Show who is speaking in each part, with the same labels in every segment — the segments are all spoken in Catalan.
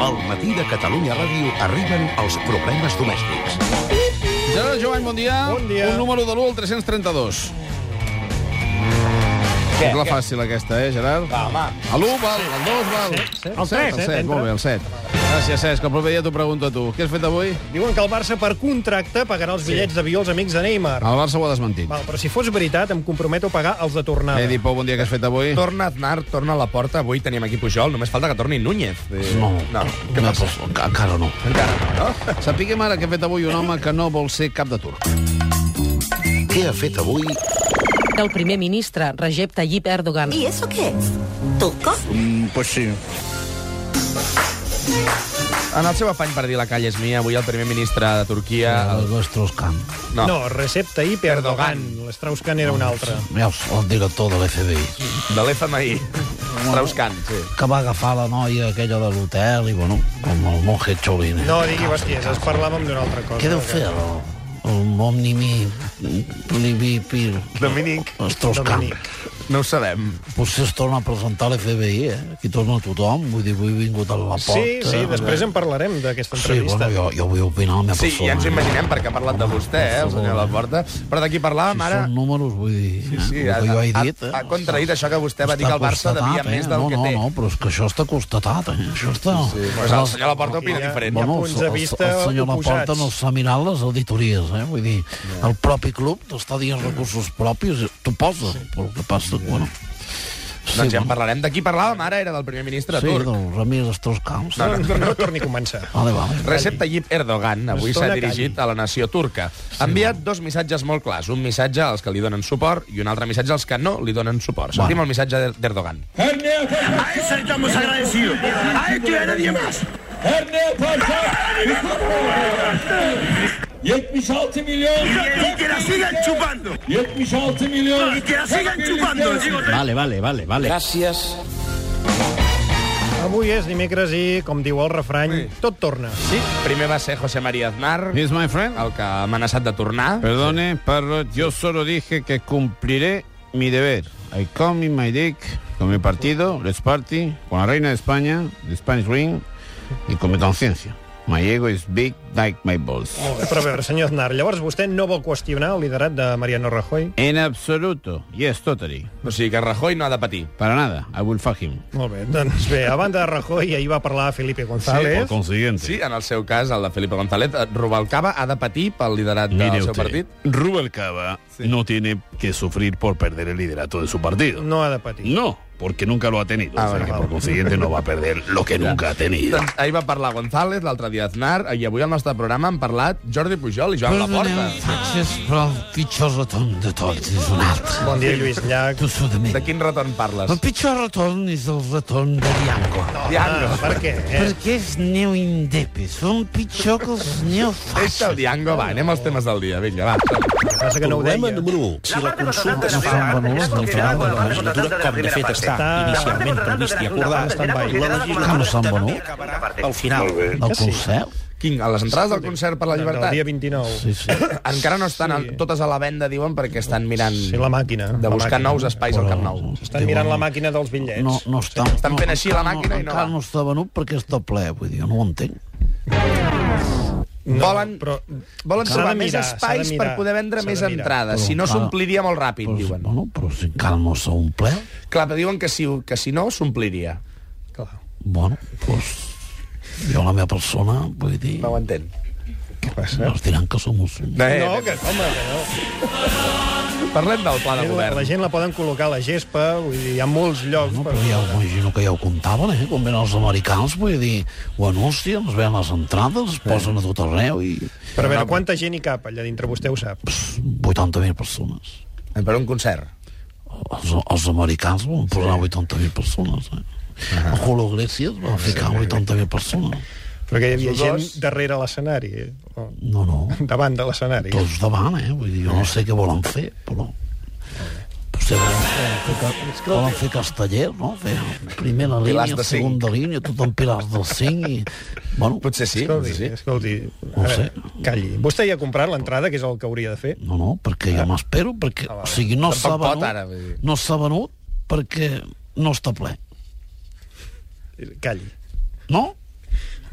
Speaker 1: Al matí de Catalunya Ràdio arriben els problemes domèstics.
Speaker 2: Gerard Jovany, bon dia.
Speaker 3: Bon dia.
Speaker 2: Un número de l'1 al 332.
Speaker 3: Què?
Speaker 2: És la
Speaker 3: Què?
Speaker 2: fàcil, aquesta, eh, Gerard?
Speaker 3: Va, home.
Speaker 2: A l'1 val, al 2 val.
Speaker 3: El
Speaker 2: Set,
Speaker 3: set,
Speaker 2: El 7,
Speaker 3: entra.
Speaker 2: molt bé, el 7. Gràcies, Cesc. El proper dia t'ho pregunto a tu. Què has fet avui?
Speaker 3: Diuen que el Barça, per contracte, pagarà els bitllets d'avió als amics de Neymar.
Speaker 4: Ah.
Speaker 2: El Barça ho ha desmentit.
Speaker 3: Val, però si fos veritat, em comprometo a pagar els de tornada.
Speaker 2: Edi Pou, bon dia, què has fet avui?
Speaker 5: Torna Aznar, torna a la porta. Avui teníem aquí Pujol, només falta que torni Núñez. Eh,
Speaker 2: No.
Speaker 5: no. Què
Speaker 2: no,
Speaker 5: passa?
Speaker 2: però encara no.
Speaker 5: Encara no, no?
Speaker 2: Sapiguem ara què ha fet avui un home que no vol ser cap de turc.
Speaker 1: Què ha fet avui
Speaker 6: El primer ministre, Recep Tayyip Erdogan,
Speaker 7: ¿Y eso qué es? ¿Toco?
Speaker 5: En el seu afany per dir la calle és mia, avui el primer ministre de Turquia... El...
Speaker 4: Vostros Camp.
Speaker 5: No.
Speaker 3: No, Recep Tayyip Erdogan. L'Strauss-Kahn era un altre.
Speaker 4: Veus, el director de l'FBI,
Speaker 5: De l'FMI. Strauss-Kahn, sí.
Speaker 4: que va agafar la noia aquella de l'hotel i, bueno, com el monje Cholin.
Speaker 3: No digui bestieses, parlàvem d'una altra cosa.
Speaker 4: Què deu fer el, el Omnimi Plivi Pir
Speaker 5: Dominic,
Speaker 4: Vostros Camp?
Speaker 3: Dominic.
Speaker 5: no ho sabem.
Speaker 4: Potser es torna a presentar a l'FBI, eh? Aquí torna tothom, vull dir, avui he vingut a la porta.
Speaker 3: Sí, sí, després en parlarem d'aquesta
Speaker 4: Sí, bueno,
Speaker 3: entrevista.
Speaker 4: jo, jo vull opinar la meva
Speaker 5: Sí,
Speaker 4: persona. eh?
Speaker 5: ja ens ho imaginem, perquè ha parlat de vostè, eh, el senyor de la porta. Però d'aquí parlàvem
Speaker 4: Si
Speaker 5: ara...
Speaker 4: són números, vull dir, eh?
Speaker 5: Sí,
Speaker 4: el
Speaker 5: ha,
Speaker 4: que jo he
Speaker 5: ha,
Speaker 4: dit. eh?
Speaker 5: ha contradit això que vostè va dir que el Barça devia
Speaker 4: constatat, eh?
Speaker 5: més del
Speaker 4: no,
Speaker 5: que té.
Speaker 4: No, no, però és que això està constatat, eh? Això està... Sí,
Speaker 5: Pues el senyor Laporta opina
Speaker 3: Ja-
Speaker 5: diferent.
Speaker 3: ja-
Speaker 4: Bueno,
Speaker 3: punts de
Speaker 4: el- el-
Speaker 3: vista
Speaker 4: el senyor
Speaker 3: oposats.
Speaker 4: Laporta no s'ha mirat les auditories, eh? Vull dir, el propi club està dient recursos propis, t'ho posa, però el que passa, bueno... Sí,
Speaker 5: Doncs ja en parlarem. D'aquí parlàvem ara, era del primer ministre
Speaker 4: Sí,
Speaker 5: turc.
Speaker 4: del Ramir Estroscamps.
Speaker 3: No, no, no torni a començar.
Speaker 4: Vale, vale.
Speaker 5: Recep Tayyip Erdogan avui s'ha
Speaker 3: Estona
Speaker 5: dirigit a la nació turca. Ha enviat dos missatges molt clars. Un missatge als que li donen suport i un altre missatge als que no li donen suport. Sentim el missatge d'Er- d'Erdogan.
Speaker 8: A eso estamos agradecidos. A esto y a nadie más.
Speaker 9: Her ne yaparsak 76 milyon
Speaker 8: Y que la sigan chupando.
Speaker 9: 76 milyon
Speaker 8: Y que la sigan chupando. digo.
Speaker 3: Avui és dimecres i, com diu el refrany, tot torna.
Speaker 5: Sí, primer va ser José María Aznar,
Speaker 2: Here's my friend.
Speaker 5: el que ha amenaçat de tornar.
Speaker 2: Perdone, parrot, yo solo dije que cumpliré mi deber. I come in my dick con mi partido, Let's Party, con la reina de España, the Spanish Ring, y con mi conciencia. My ego is big like my balls.
Speaker 3: Molt bé, Però a veure, senyor Aznar, llavors vostè no vol qüestionar el liderat de Mariano Rajoy?
Speaker 2: En absoluto. Yes, totally.
Speaker 5: O sigui que Rajoy no ha de patir.
Speaker 2: Para nada. I will fuck him.
Speaker 3: Molt bé, doncs bé, a banda de Rajoy, ahir va parlar Felipe González.
Speaker 2: consiguiente.
Speaker 5: Sí, en el seu cas, el de Felipe González, eh, Rubalcaba ha de patir pel liderat del seu partit.
Speaker 10: Rubalcaba no tiene que sufrir por perder el liderato de su partido.
Speaker 3: No ha de patir.
Speaker 10: No, porque nunca lo ha tenido.
Speaker 5: Ah,
Speaker 10: O sea
Speaker 5: bueno,
Speaker 10: que,
Speaker 5: vale.
Speaker 10: por consiguiente no va a perder lo que nunca ha tenido.
Speaker 5: Doncs ahir va parlar González, l'altre dia Aznar, i avui al nostre programa han parlat Jordi Pujol i Joan Laporta.
Speaker 4: Perdoneu, Sánchez, però el pitjor retorn de tots és un altre.
Speaker 3: Bon dia, Lluís Llach.
Speaker 4: Tu s'ho de mi.
Speaker 5: De quin retorn parles?
Speaker 4: El pitjor retorn és el retorn de Diango.
Speaker 5: Diango.
Speaker 3: Ah, per què? Eh?
Speaker 4: Perquè és neu indepe, són pitjor que els neofas.
Speaker 5: Deixa el Diango, va, anem als temes del dia. Vinga, va.
Speaker 3: Passa que no ho deia.
Speaker 1: número 1. Si la consulta
Speaker 4: No són venuts, no
Speaker 1: final de
Speaker 4: fan
Speaker 1: la legislatura, com de fet està inicialment previst i acordat, la
Speaker 4: Que no
Speaker 1: legislatura
Speaker 4: són
Speaker 1: també
Speaker 4: venuts,
Speaker 1: acabarà al final.
Speaker 4: del concert.
Speaker 5: Quin, a les entrades del concert per la
Speaker 3: Del
Speaker 5: llibertat?
Speaker 3: dia 29.
Speaker 4: Sí, sí.
Speaker 5: Encara no estan al- totes a la venda, diuen, perquè estan mirant
Speaker 3: Sí, la màquina.
Speaker 5: de buscar
Speaker 3: la màquina.
Speaker 5: nous espais al Camp Nou.
Speaker 3: Estan mirant la màquina dels bitllets.
Speaker 4: No, no està,
Speaker 5: eh? Estan fent així la màquina
Speaker 4: no,
Speaker 5: i no
Speaker 4: encara
Speaker 5: va.
Speaker 4: no està venut perquè està ple, vull dir, jo no ho entenc.
Speaker 3: No,
Speaker 5: Volen,
Speaker 3: però-
Speaker 5: volen
Speaker 3: S'ha de
Speaker 5: trobar més
Speaker 3: mirar, s'ha de
Speaker 5: espais
Speaker 3: mirar,
Speaker 5: per poder vendre
Speaker 3: s'ha
Speaker 5: més
Speaker 3: de mirar.
Speaker 5: entrades, si no
Speaker 4: Però,
Speaker 5: s'ompliria molt ràpid,
Speaker 4: Però,
Speaker 5: diuen.
Speaker 4: bueno, però si encara no s'ha omplert,
Speaker 5: Clar, però diuen que si, que si no, s'ompliria.
Speaker 3: Clar.
Speaker 4: bueno, doncs jo la meva persona, vull dir,
Speaker 5: No ho entenc.
Speaker 3: Què passa?
Speaker 4: no es diran que som musulmans.
Speaker 5: Eh,
Speaker 3: No,
Speaker 5: eh,
Speaker 3: que, home, que
Speaker 5: Parlem del pla de
Speaker 3: no. La, la
Speaker 5: govern.
Speaker 3: gent la poden col·locar a la gespa, vull dir, hi ha molts llocs.
Speaker 4: No, però ja ho imagino que ja ho comptaven, eh? Quan venen els americans, vull dir, ho anuncien, es veuen les entrades, es posen a tot arreu i...
Speaker 3: Però a veure, quanta gent hi cap allà dintre, vostè ho sap.
Speaker 4: 80.000 persones.
Speaker 5: Eh, Per un concert.
Speaker 4: Els, els americans van posar 80.000 persones, eh?
Speaker 5: Ah.
Speaker 4: El Julio Iglesias va ficar 80.000 persones.
Speaker 3: Però que hi havia gent
Speaker 5: Dos.
Speaker 3: darrere l'escenari, eh? o
Speaker 4: No, no,
Speaker 3: davant de l'escenari.
Speaker 4: tots davant, eh? Vull dir, jo
Speaker 5: Ah.
Speaker 4: no sé què volen fer, però... Potser volen fer,
Speaker 5: Ah.
Speaker 4: ficar- volen fer casteller, no? Fer primera
Speaker 5: Pilars
Speaker 4: línia,
Speaker 5: de cinc.
Speaker 4: segona línia, tot en pilars del 5 i... Bueno,
Speaker 5: Potser sí.
Speaker 3: Escolti,
Speaker 5: potser sí.
Speaker 3: escolti, a
Speaker 4: No ho sé.
Speaker 3: veure, calli. Vostè ja ha comprat l'entrada, que és el que hauria de fer?
Speaker 4: No, no, perquè jo m'espero, perquè... O sigui, no s'ha
Speaker 5: Tampoc Ah. pot,
Speaker 4: venut,
Speaker 5: ara, vull dir.
Speaker 4: no s'ha venut perquè no està ple.
Speaker 3: Calli.
Speaker 4: No?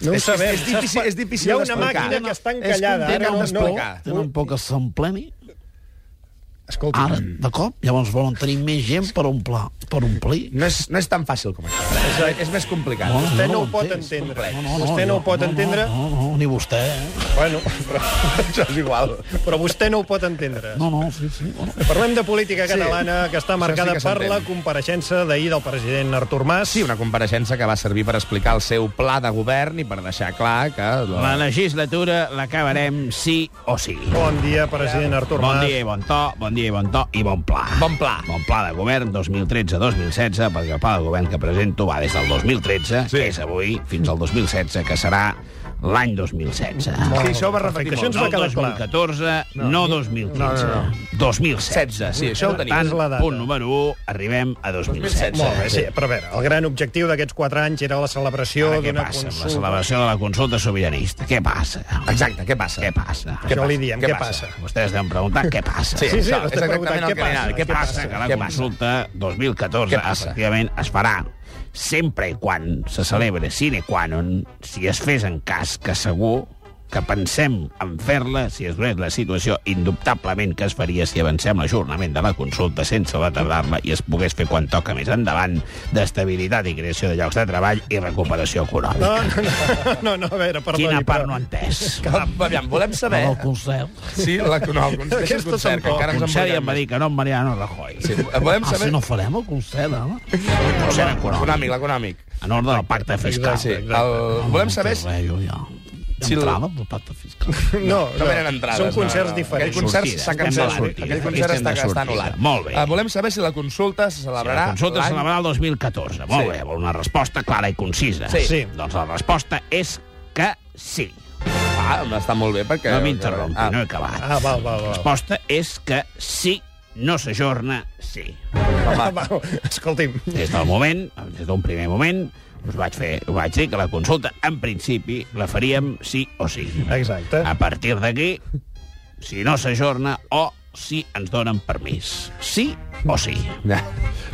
Speaker 3: No ho
Speaker 5: és,
Speaker 3: sabem.
Speaker 5: És, és difícil, és difícil
Speaker 3: Hi ha una
Speaker 5: d'explicar.
Speaker 3: màquina que està encallada,
Speaker 5: És
Speaker 3: ara
Speaker 5: complicat
Speaker 3: no-
Speaker 5: d'explicar.
Speaker 4: Tenen poc assempleni,
Speaker 5: Escolta,
Speaker 4: ara, de cop, llavors volen tenir més gent per omplir. Per omplir.
Speaker 5: no és, no és tan fàcil com això. És, és més complicat.
Speaker 4: No,
Speaker 3: Vostè no, ho
Speaker 4: ho
Speaker 3: pot
Speaker 4: entens.
Speaker 3: entendre.
Speaker 5: complex.
Speaker 3: vostè no ho
Speaker 4: jo-
Speaker 3: pot entendre.
Speaker 4: No, no, ni vostè, eh?
Speaker 3: Bueno, però,
Speaker 5: Això és igual.
Speaker 3: però vostè no ho pot entendre.
Speaker 4: No, no, sí, sí. Bueno,
Speaker 3: Parlem de política catalana, que està
Speaker 5: Això
Speaker 3: marcada
Speaker 5: sí que
Speaker 3: per
Speaker 5: s'entén.
Speaker 3: la compareixença d'ahir del president Artur Mas.
Speaker 5: Sí, una compareixença que va servir per explicar el seu pla de govern i per deixar clar que...
Speaker 2: La legislatura l'acabarem sí o sí.
Speaker 3: Bon dia, president Artur
Speaker 2: Bon
Speaker 3: Mas.
Speaker 2: dia i bon to, bon dia i bon to i bon pla.
Speaker 5: Bon pla.
Speaker 2: Bon pla de govern 2013-2016, perquè el pla de govern que presento va des del 2013, sí. que és avui, fins al 2016, que serà l'any 2016.
Speaker 5: Sí, això ho va
Speaker 3: Perfecte,
Speaker 5: repetir
Speaker 3: això ens
Speaker 5: molt.
Speaker 3: va quedar clar.
Speaker 2: 2014, no, no 2015. No, no, no. 2016.
Speaker 5: 16, sí, això ho
Speaker 2: Per
Speaker 5: tenim.
Speaker 2: tant,
Speaker 3: És la data.
Speaker 2: punt número 1, arribem a 2016.
Speaker 5: 2016.
Speaker 3: Molt bé, sí, però a veure, el gran objectiu d'aquests 4 anys era la celebració
Speaker 2: Ara què
Speaker 3: d'una
Speaker 2: passa? amb La
Speaker 3: consulta.
Speaker 2: celebració de la consulta sobiranista. Què passa?
Speaker 5: Exacte, què passa?
Speaker 2: Què passa?
Speaker 3: Això li diem, què passa?
Speaker 2: Vostès deuen preguntar què passa.
Speaker 5: Sí,
Speaker 3: Sí, sí,
Speaker 5: això, és
Speaker 3: l'estem
Speaker 5: exactament el
Speaker 3: preguntant, què
Speaker 5: que anirà.
Speaker 3: passa?
Speaker 2: Què passa? Que la
Speaker 5: Què passa?
Speaker 2: consulta 2014
Speaker 5: Què passa?
Speaker 2: efectivament es farà sempre i quan se celebre sine qua non, si es fes en cas que segur que pensem en fer-la, si es donés la situació indubtablement que es faria si avancem l'ajornament de la consulta sense retardar-la i es pogués fer quan toca més endavant, d'estabilitat i creació de llocs de treball i recuperació econòmica.
Speaker 3: No, no, no, no, a veure, perdoni.
Speaker 2: Quina part no ha
Speaker 3: però...
Speaker 2: entès?
Speaker 5: Aviam, volem saber...
Speaker 4: el concert.
Speaker 5: Sí, la, no, el concert,
Speaker 3: Aquestes
Speaker 5: el concert,
Speaker 3: tampoc.
Speaker 5: que encara ens
Speaker 2: Consell
Speaker 5: emboliquem
Speaker 2: em va dir que no en Mariano Rajoy.
Speaker 5: Sí, Eh, volem
Speaker 4: Ah, si
Speaker 5: saber...
Speaker 4: no farem el concert, home.
Speaker 2: Consell econòmic.
Speaker 5: L'econòmic, l'econòmic.
Speaker 2: En ordre del pacte fiscal.
Speaker 5: Sí, el... Volem saber si...
Speaker 4: No, jo ja... Ja
Speaker 5: Si la-
Speaker 4: entrava amb el pacte fiscal.
Speaker 3: No,
Speaker 5: No venen entrades.
Speaker 3: Són
Speaker 5: no,
Speaker 3: concerts
Speaker 5: no.
Speaker 3: diferents.
Speaker 5: Aquell concert
Speaker 2: Sortides,
Speaker 5: s'ha
Speaker 2: estem de
Speaker 5: cancel·lat.
Speaker 2: sortida.
Speaker 5: Aquell concert
Speaker 2: Estem
Speaker 5: està,
Speaker 2: de
Speaker 5: està
Speaker 2: sortida.
Speaker 5: anul·lat.
Speaker 2: Molt bé.
Speaker 5: Eh, volem saber si la consulta se celebrarà
Speaker 2: La consulta
Speaker 5: l'any-
Speaker 2: se celebrarà el 2014. Molt
Speaker 5: Sí.
Speaker 2: bé, vol una resposta clara i concisa.
Speaker 5: Sí.
Speaker 3: Sí.
Speaker 2: Doncs la resposta és que sí.
Speaker 5: Ah, està molt bé perquè...
Speaker 2: No m'interrompi,
Speaker 5: Ah,
Speaker 2: no he acabat.
Speaker 3: Ah, val, val,
Speaker 2: La
Speaker 3: val.
Speaker 2: resposta és que sí, no s'ajorna, sí.
Speaker 3: Ah, val. Escolti'm,
Speaker 2: Des del moment, des d'un primer moment, us vaig, fer, us vaig dir que la consulta, en principi, la faríem sí o sí.
Speaker 3: Exacte.
Speaker 2: A partir d'aquí, si no s'ajorna o si ens donen permís. Sí o sí.
Speaker 5: Ja.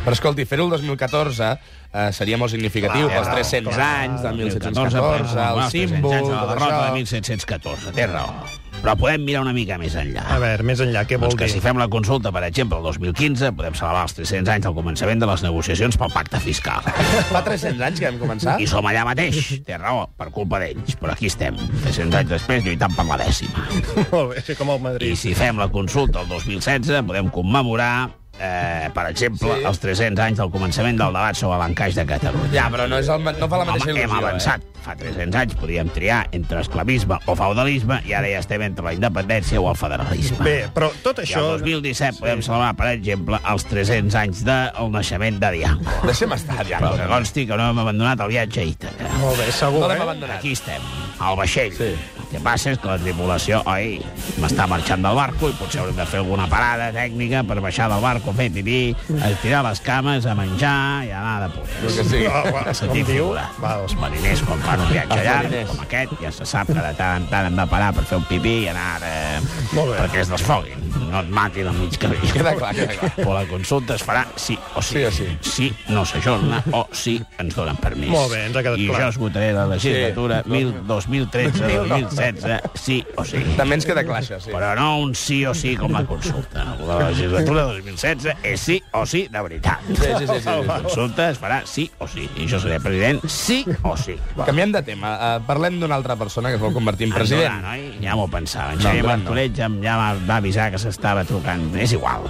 Speaker 5: Però escolti, fer-ho el 2014 eh, seria molt significatiu
Speaker 2: Clar,
Speaker 5: pels 300
Speaker 2: clar.
Speaker 5: anys del
Speaker 2: 14,
Speaker 5: 1714, el
Speaker 2: els
Speaker 5: símbol,
Speaker 2: anys de la
Speaker 5: tot
Speaker 2: derrota de
Speaker 5: això.
Speaker 2: 1714. Té raó. Però podem mirar una mica més enllà.
Speaker 3: a veure, més enllà, què vol
Speaker 2: Doncs que
Speaker 3: dir?
Speaker 2: si fem la consulta, per exemple, el 2015, podem celebrar els 300 anys del començament de les negociacions pel pacte fiscal.
Speaker 5: Fa 300 anys que vam començar?
Speaker 2: I som allà mateix, té raó, per culpa d'ells. Però aquí estem, 300 anys després, lluitant per la dècima.
Speaker 3: Molt bé, sí, com el
Speaker 2: I
Speaker 3: Madrid.
Speaker 2: si fem la consulta el 2016, podem commemorar, eh, per exemple, sí. els 300 anys del començament del debat sobre l'encaix de Catalunya.
Speaker 5: Ja, però no, és el, ma- no fa la mateixa
Speaker 2: Home, hem
Speaker 5: il·lusió. eh?
Speaker 2: avançat. Fa 300 anys podíem triar entre esclavisme o feudalisme i ara ja estem entre la independència o el federalisme.
Speaker 3: Bé, però tot
Speaker 2: I
Speaker 3: això...
Speaker 2: el 2017 podem celebrar, per exemple, els 300 anys del naixement de Diango.
Speaker 5: Eh? Deixem estar, ja.
Speaker 2: Però que consti que no hem abandonat el viatge a Ítaca.
Speaker 3: Molt bé, segur,
Speaker 5: No l'hem
Speaker 3: eh?
Speaker 5: abandonat.
Speaker 2: Aquí estem, al vaixell. Sí. El que passa és que la tripulació, oi, m'està marxant del barco i potser haurem de fer alguna parada tècnica per baixar del barco, fer tití, estirar les cames, a menjar i a anar de punt.
Speaker 5: Que sí.
Speaker 3: Ah, va, com diu? Val.
Speaker 2: Els mariners, quan fan un viatge
Speaker 5: Els
Speaker 2: llarg,
Speaker 5: mariners.
Speaker 2: com aquest, ja se sap que de tant en tant hem de parar per fer un pipí i anar eh,
Speaker 3: Molt bé.
Speaker 2: perquè es desfoguin, no et matin al mig camí.
Speaker 5: Queda clar, queda clar.
Speaker 2: Però la consulta es farà sí o sí.
Speaker 5: Sí o sí.
Speaker 2: Sí, no s'ajorna, o sí, ens donen permís.
Speaker 3: Molt bé, ens ha quedat
Speaker 2: I
Speaker 3: clar.
Speaker 2: jo esgotaré la legislatura sí. 2013, 2016, sí o sí.
Speaker 5: També ens queda clar, això, sí.
Speaker 2: Però no un sí o sí com la consulta. La legislatura 2016 és sí o sí de veritat.
Speaker 5: Sí, sí, sí, sí, sí.
Speaker 2: La consulta es farà sí o sí. I jo seré president sí o sí.
Speaker 5: Canviem de tema. Uh, parlem d'una altra persona que es vol convertir en
Speaker 2: Andorra,
Speaker 5: president.
Speaker 2: noi? Ja m'ho pensava. En Xavier
Speaker 5: Andorra no.
Speaker 2: Martorell ja, em- ja va- va avisar que s'estava trucant. És igual.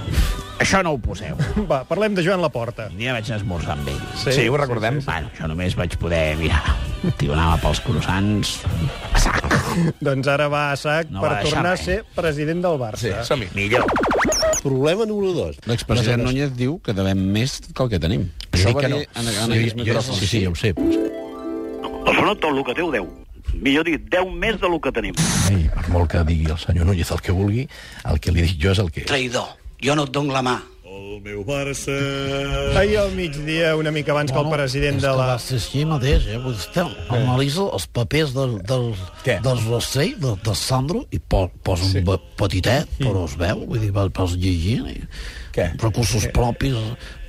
Speaker 2: Això no ho poseu.
Speaker 3: Va, parlem de Joan Laporta.
Speaker 2: Un dia vaig esmorzar amb ell.
Speaker 3: Sí.
Speaker 5: Sí, ho recordem.
Speaker 2: Bueno, jo només vaig poder mirar. El tio anava pels croissants a sac.
Speaker 3: Doncs ara va a sac
Speaker 2: No
Speaker 3: per
Speaker 2: va deixar
Speaker 3: tornar a
Speaker 2: res.
Speaker 3: ser president del Barça.
Speaker 5: Sí, som-hi.
Speaker 2: Millor.
Speaker 11: Problema número 2.
Speaker 4: L'expresident
Speaker 11: Núñez diu que devem més que el que tenim.
Speaker 4: Això va dir en- en aquells
Speaker 11: Sí, sí, ja ho sé.
Speaker 8: Sobretot el que deu, deu. Millor dit, deu més del que tenim.
Speaker 11: Ei, per molt que digui el senyor Núñez el que vulgui, el que li dic jo és el que...
Speaker 7: Traïdor, jo no et dono la mà.
Speaker 12: el meu Barça.
Speaker 3: Ahir al migdia, una mica abans que el president
Speaker 4: és
Speaker 3: de
Speaker 4: que
Speaker 3: la...
Speaker 4: Va ser així mateix, eh? Vull dir, estem, analitza els papers del, del, del Rossell, de, de Sandro, i po, posa sí. un pe- petitet, però es veu, vull dir, vas, vas llegint, i Què? recursos Què? propis,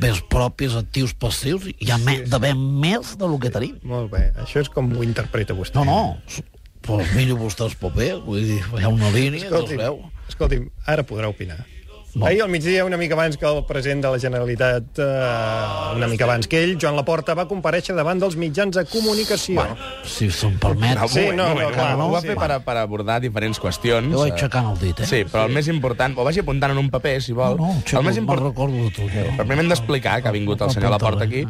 Speaker 4: béns propis, actius passius, i hi ha me, d'haver més del que tenim.
Speaker 3: Molt bé, això és com ho interpreta vostè.
Speaker 4: No, no, però miro vostè els papers, vull dir, hi ha una línia, Escolti. que es veu.
Speaker 3: escolti'm, ara podrà opinar. No. Ahir al migdia, una mica abans que el president de la Generalitat, eh, una mica abans que ell, Joan Laporta, va compareixer davant dels mitjans de comunicació. Bueno,
Speaker 4: Si se'n permet...
Speaker 3: Sí, no, no, clar,
Speaker 5: ho va
Speaker 3: sí.
Speaker 5: fer per, a- per abordar diferents qüestions.
Speaker 4: Jo vaig
Speaker 5: eh,
Speaker 4: aixecant el dit, eh?
Speaker 5: Sí, però el més important... Ho vagi apuntant en un paper, si vol.
Speaker 4: No, no,
Speaker 5: el més
Speaker 4: important...
Speaker 5: important...
Speaker 4: recordo de tu, jo.
Speaker 5: Per primer hem d'explicar que ha vingut el senyor Laporta aquí,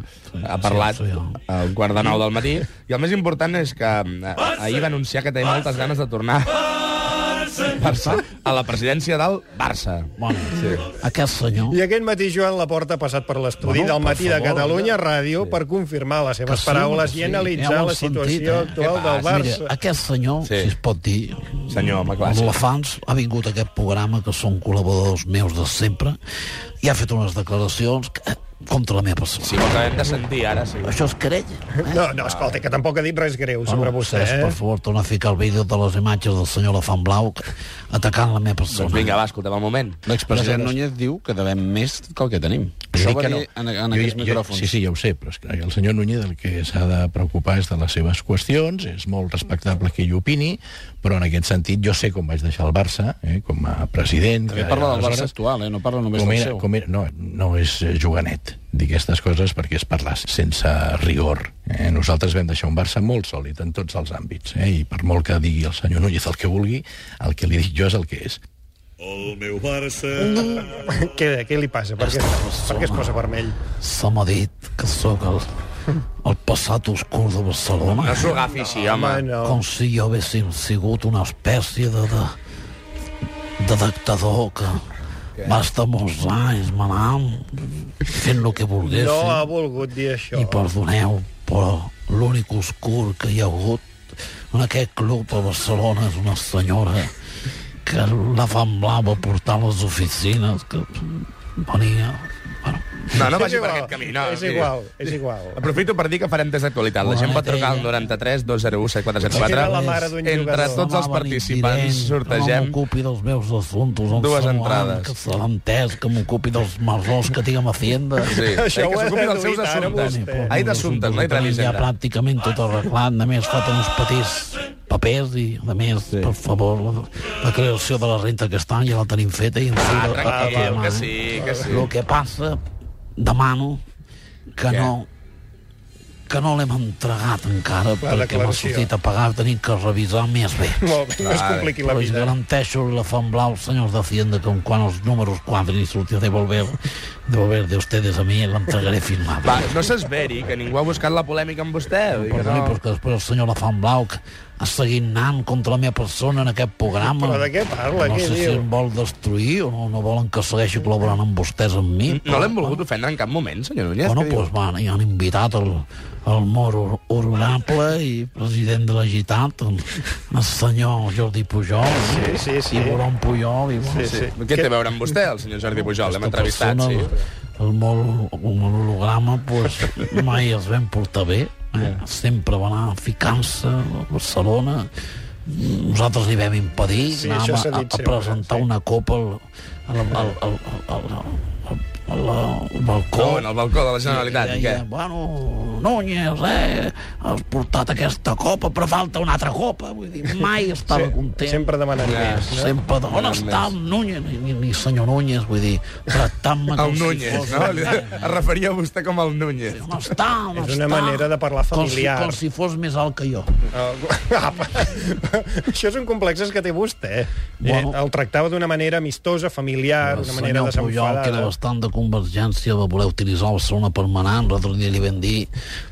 Speaker 5: ha parlat al quart de nou del matí, i el més important és que eh, ahir va anunciar que tenia moltes ganes de tornar Barça a la presidència del Barça.
Speaker 4: Bueno, sí. Aquest senyor...
Speaker 3: I aquest matí Joan Laporta ha passat per l'estudi
Speaker 4: Bueno,
Speaker 3: del matí
Speaker 4: per
Speaker 3: de
Speaker 4: favor,
Speaker 3: Catalunya Ràdio per confirmar les seves paraules i analitzar la situació actual del Barça.
Speaker 4: eh? Mira, aquest senyor, sí. si es pot dir,
Speaker 5: senyor, home, clar,
Speaker 4: els
Speaker 5: sí.
Speaker 4: elefants, ha vingut a aquest programa, que són col·laboradors meus de sempre, i ha fet unes declaracions que, eh, contra la meva persona.
Speaker 5: Sí, ho acabem de sentir ara, sí.
Speaker 4: Això és querella.
Speaker 3: No, no, escolta, que tampoc ha dit res greu sobre vostè,
Speaker 4: Cesc, per
Speaker 3: eh?
Speaker 4: favor, torna a ficar el vídeo de les imatges del senyor Elefant Blau que- atacant la meva persona.
Speaker 5: Doncs vinga, va, escoltem el moment.
Speaker 11: L'expresident Núñez diu que devem més que el que tenim. Això va dir en, en
Speaker 13: Jo-
Speaker 11: aquells
Speaker 13: jo-
Speaker 11: micròfons.
Speaker 13: Sí, sí, ja ho sé, però és que el senyor Núñez el que s'ha de preocupar és de les seves qüestions, és molt respectable que ell opini, però en aquest sentit jo sé com vaig deixar el Barça, eh, com a president...
Speaker 11: També
Speaker 13: que
Speaker 11: parla del
Speaker 13: aleshores-
Speaker 11: Barça actual, eh? no parla només
Speaker 13: com
Speaker 11: del
Speaker 13: era,
Speaker 11: seu.
Speaker 13: com era, no, no és eh, juganet dir aquestes coses perquè és parlar sense rigor. Eh? Nosaltres vam deixar un Barça molt sòlid en tots els àmbits, eh? i per molt que digui el senyor Núñez el que vulgui, el que li dic jo és el que és.
Speaker 12: El meu Barça.
Speaker 3: Què, què li passa? Per què, per què es posa vermell?
Speaker 4: Se m'ha dit que sóc el, el passat oscur de Barcelona.
Speaker 5: No s'ho agafi així, home.
Speaker 3: Ah,
Speaker 5: no.
Speaker 4: Com si jo haguéssim sigut una espècie de... de, de dictador que va estar molts anys manant, fent el que volgués.
Speaker 3: No ha volgut dir això.
Speaker 4: I perdoneu, però l'únic oscur que hi ha hagut en aquest club a Barcelona és una senyora que la fan blava portant les oficines, que venia...
Speaker 5: No, no
Speaker 3: És
Speaker 5: vagi per
Speaker 3: igual,
Speaker 5: aquest camí. No,
Speaker 3: és
Speaker 5: mira.
Speaker 3: igual, és igual.
Speaker 5: Aprofito per dir que farem test d'actualitat. La gent pot trucar al 93 201
Speaker 3: Era
Speaker 5: 7404.
Speaker 3: la mare d'un
Speaker 5: Entre
Speaker 3: jugador.
Speaker 5: tots els participants
Speaker 4: Que no
Speaker 5: sortegem...
Speaker 4: m'ocupi dels meus assumptos. em
Speaker 5: Dues
Speaker 4: sembla
Speaker 5: entrades.
Speaker 4: Que se l'ha entès, que m'ocupi dels marrons que tinguem a Hacienda.
Speaker 5: Sí, eh, que s'ocupi dels seus assumptes. Ahir d'assumptes, no? I
Speaker 4: Tenim ja
Speaker 5: Hisenda.
Speaker 4: pràcticament tot arreglat, només falten uns petits papers i, a més, sí. per favor, la, la creació de la renta aquest any ja la tenim feta i ens
Speaker 5: Ah,
Speaker 4: surt a- a- a
Speaker 5: tranquil,
Speaker 4: demà,
Speaker 5: que
Speaker 4: eh?
Speaker 5: sí, que sí.
Speaker 4: El que passa, demano que no que no l'hem entregat encara
Speaker 3: La
Speaker 4: perquè m'ha
Speaker 3: declaració.
Speaker 4: sortit a pagar tenim que revisar més bé.
Speaker 3: Molt bé, no es compliqui la
Speaker 4: Però us
Speaker 3: vida.
Speaker 4: garanteixo la fan blau, senyors de Hacienda, que en quan els números quadrin i sortir de volver, de volver de ustedes a mi, l'entregaré firmada.
Speaker 5: Va, no s'esveri, que ningú ha buscat la polèmica amb vostè. vull dir que
Speaker 4: Perdoni,
Speaker 5: no.
Speaker 4: però és que després el senyor Lafant Blau que ha seguit anant contra la meva persona en aquest programa.
Speaker 5: Però de què parla?
Speaker 4: No
Speaker 5: Què
Speaker 4: sé
Speaker 5: diu?
Speaker 4: si em vol destruir o no, no volen que segueixi col·laborant amb vostès amb mi.
Speaker 5: No l'hem volgut ofendre en cap moment, senyor Núñez.
Speaker 4: Bueno,
Speaker 5: què diu?
Speaker 4: doncs van, i han invitat el, el moro honorable i president de la Gitat, el, el senyor Jordi Pujol,
Speaker 5: Sí, sí, sí.
Speaker 4: i Boron Pujol, i bueno,
Speaker 5: Sí, sí. Què té a veure amb vostè, el senyor Jordi Pujol? L'hem
Speaker 4: Aquesta
Speaker 5: entrevistat, sí.
Speaker 4: persona, El molt monograma, pues, mai es vam portar bé. Eh? Sempre va anar ficant-se a Barcelona. Nosaltres li vam impedir.
Speaker 3: Sí,
Speaker 4: Anàvem
Speaker 3: això s'ha
Speaker 4: a,
Speaker 3: dit
Speaker 4: a
Speaker 3: sempre,
Speaker 4: presentar una copa al, al, al, al, al, al, al, al balcó.
Speaker 5: No, en el balcó de la Generalitat, i
Speaker 4: I
Speaker 5: què?
Speaker 4: deia, bueno, Núñez, eh, has portat aquesta copa, però falta una altra copa. Vull dir, mai estava
Speaker 3: Sí,
Speaker 4: content.
Speaker 3: sempre demanant
Speaker 4: Ja,
Speaker 3: més, no?
Speaker 4: Sempre, on
Speaker 3: Demanant
Speaker 4: està el Núñez? Ni, ni senyor Núñez, vull dir, tractant-me
Speaker 5: El
Speaker 4: com si
Speaker 5: Núñez,
Speaker 4: fos...
Speaker 5: no? Li- Es referia a vostè com el Núñez.
Speaker 4: On està, on
Speaker 3: És una
Speaker 4: està?
Speaker 3: manera de parlar familiar.
Speaker 4: Com si, com si fos més alt que jo.
Speaker 3: Això són complexes que té vostè. Bueno, el tractava d'una manera amistosa, familiar,
Speaker 4: El
Speaker 3: d'una manera
Speaker 4: senyor Pujol, que era
Speaker 3: desenfadada.
Speaker 4: bastant de convergència, va voler utilitzar Barcelona per manar. L'altre dia li vam dir,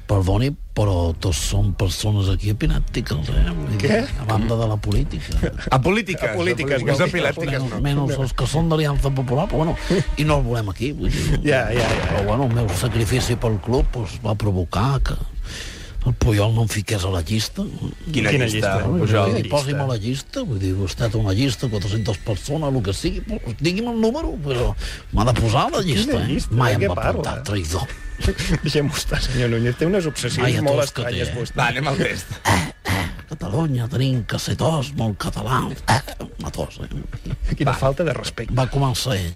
Speaker 4: perdoni, però tots són persones aquí epilèptiques, eh? Vull dir,
Speaker 5: Què?
Speaker 4: A banda de la política.
Speaker 5: A polítiques.
Speaker 4: A polítiques,
Speaker 5: no
Speaker 4: vol dir.
Speaker 5: epilèptiques, no.
Speaker 4: Menys els que són d'Aliança Popular, però bueno, i no el volem aquí. Vull dir,
Speaker 3: Ja, ja, ja.
Speaker 4: Però bueno, el meu sacrifici pel club pues, va provocar doncs, que el Puyol no em fiqués a la llista.
Speaker 5: Quina Quina llista, eh? llista? Pujol?
Speaker 4: Sí, posi'm a la llista, vull dir, vostè té una llista, 400 persones, el que sigui, però digui'm el número, però m'ha de posar a la llista. eh?
Speaker 3: llista?
Speaker 4: Mai
Speaker 3: De
Speaker 4: em
Speaker 3: què
Speaker 4: va
Speaker 3: parla?
Speaker 4: portar, traïdor.
Speaker 3: Deixem-ho estar, senyor Núñez. Té unes obsessions
Speaker 4: Vaya
Speaker 3: molt
Speaker 4: tos que té,
Speaker 3: estranyes,
Speaker 4: eh?
Speaker 3: vostè.
Speaker 5: Va, anem al test.
Speaker 4: Catalunya tenim cassetós molt català. Eh, una tos, eh?
Speaker 3: Quina falta de respecte.
Speaker 4: Va començar ell.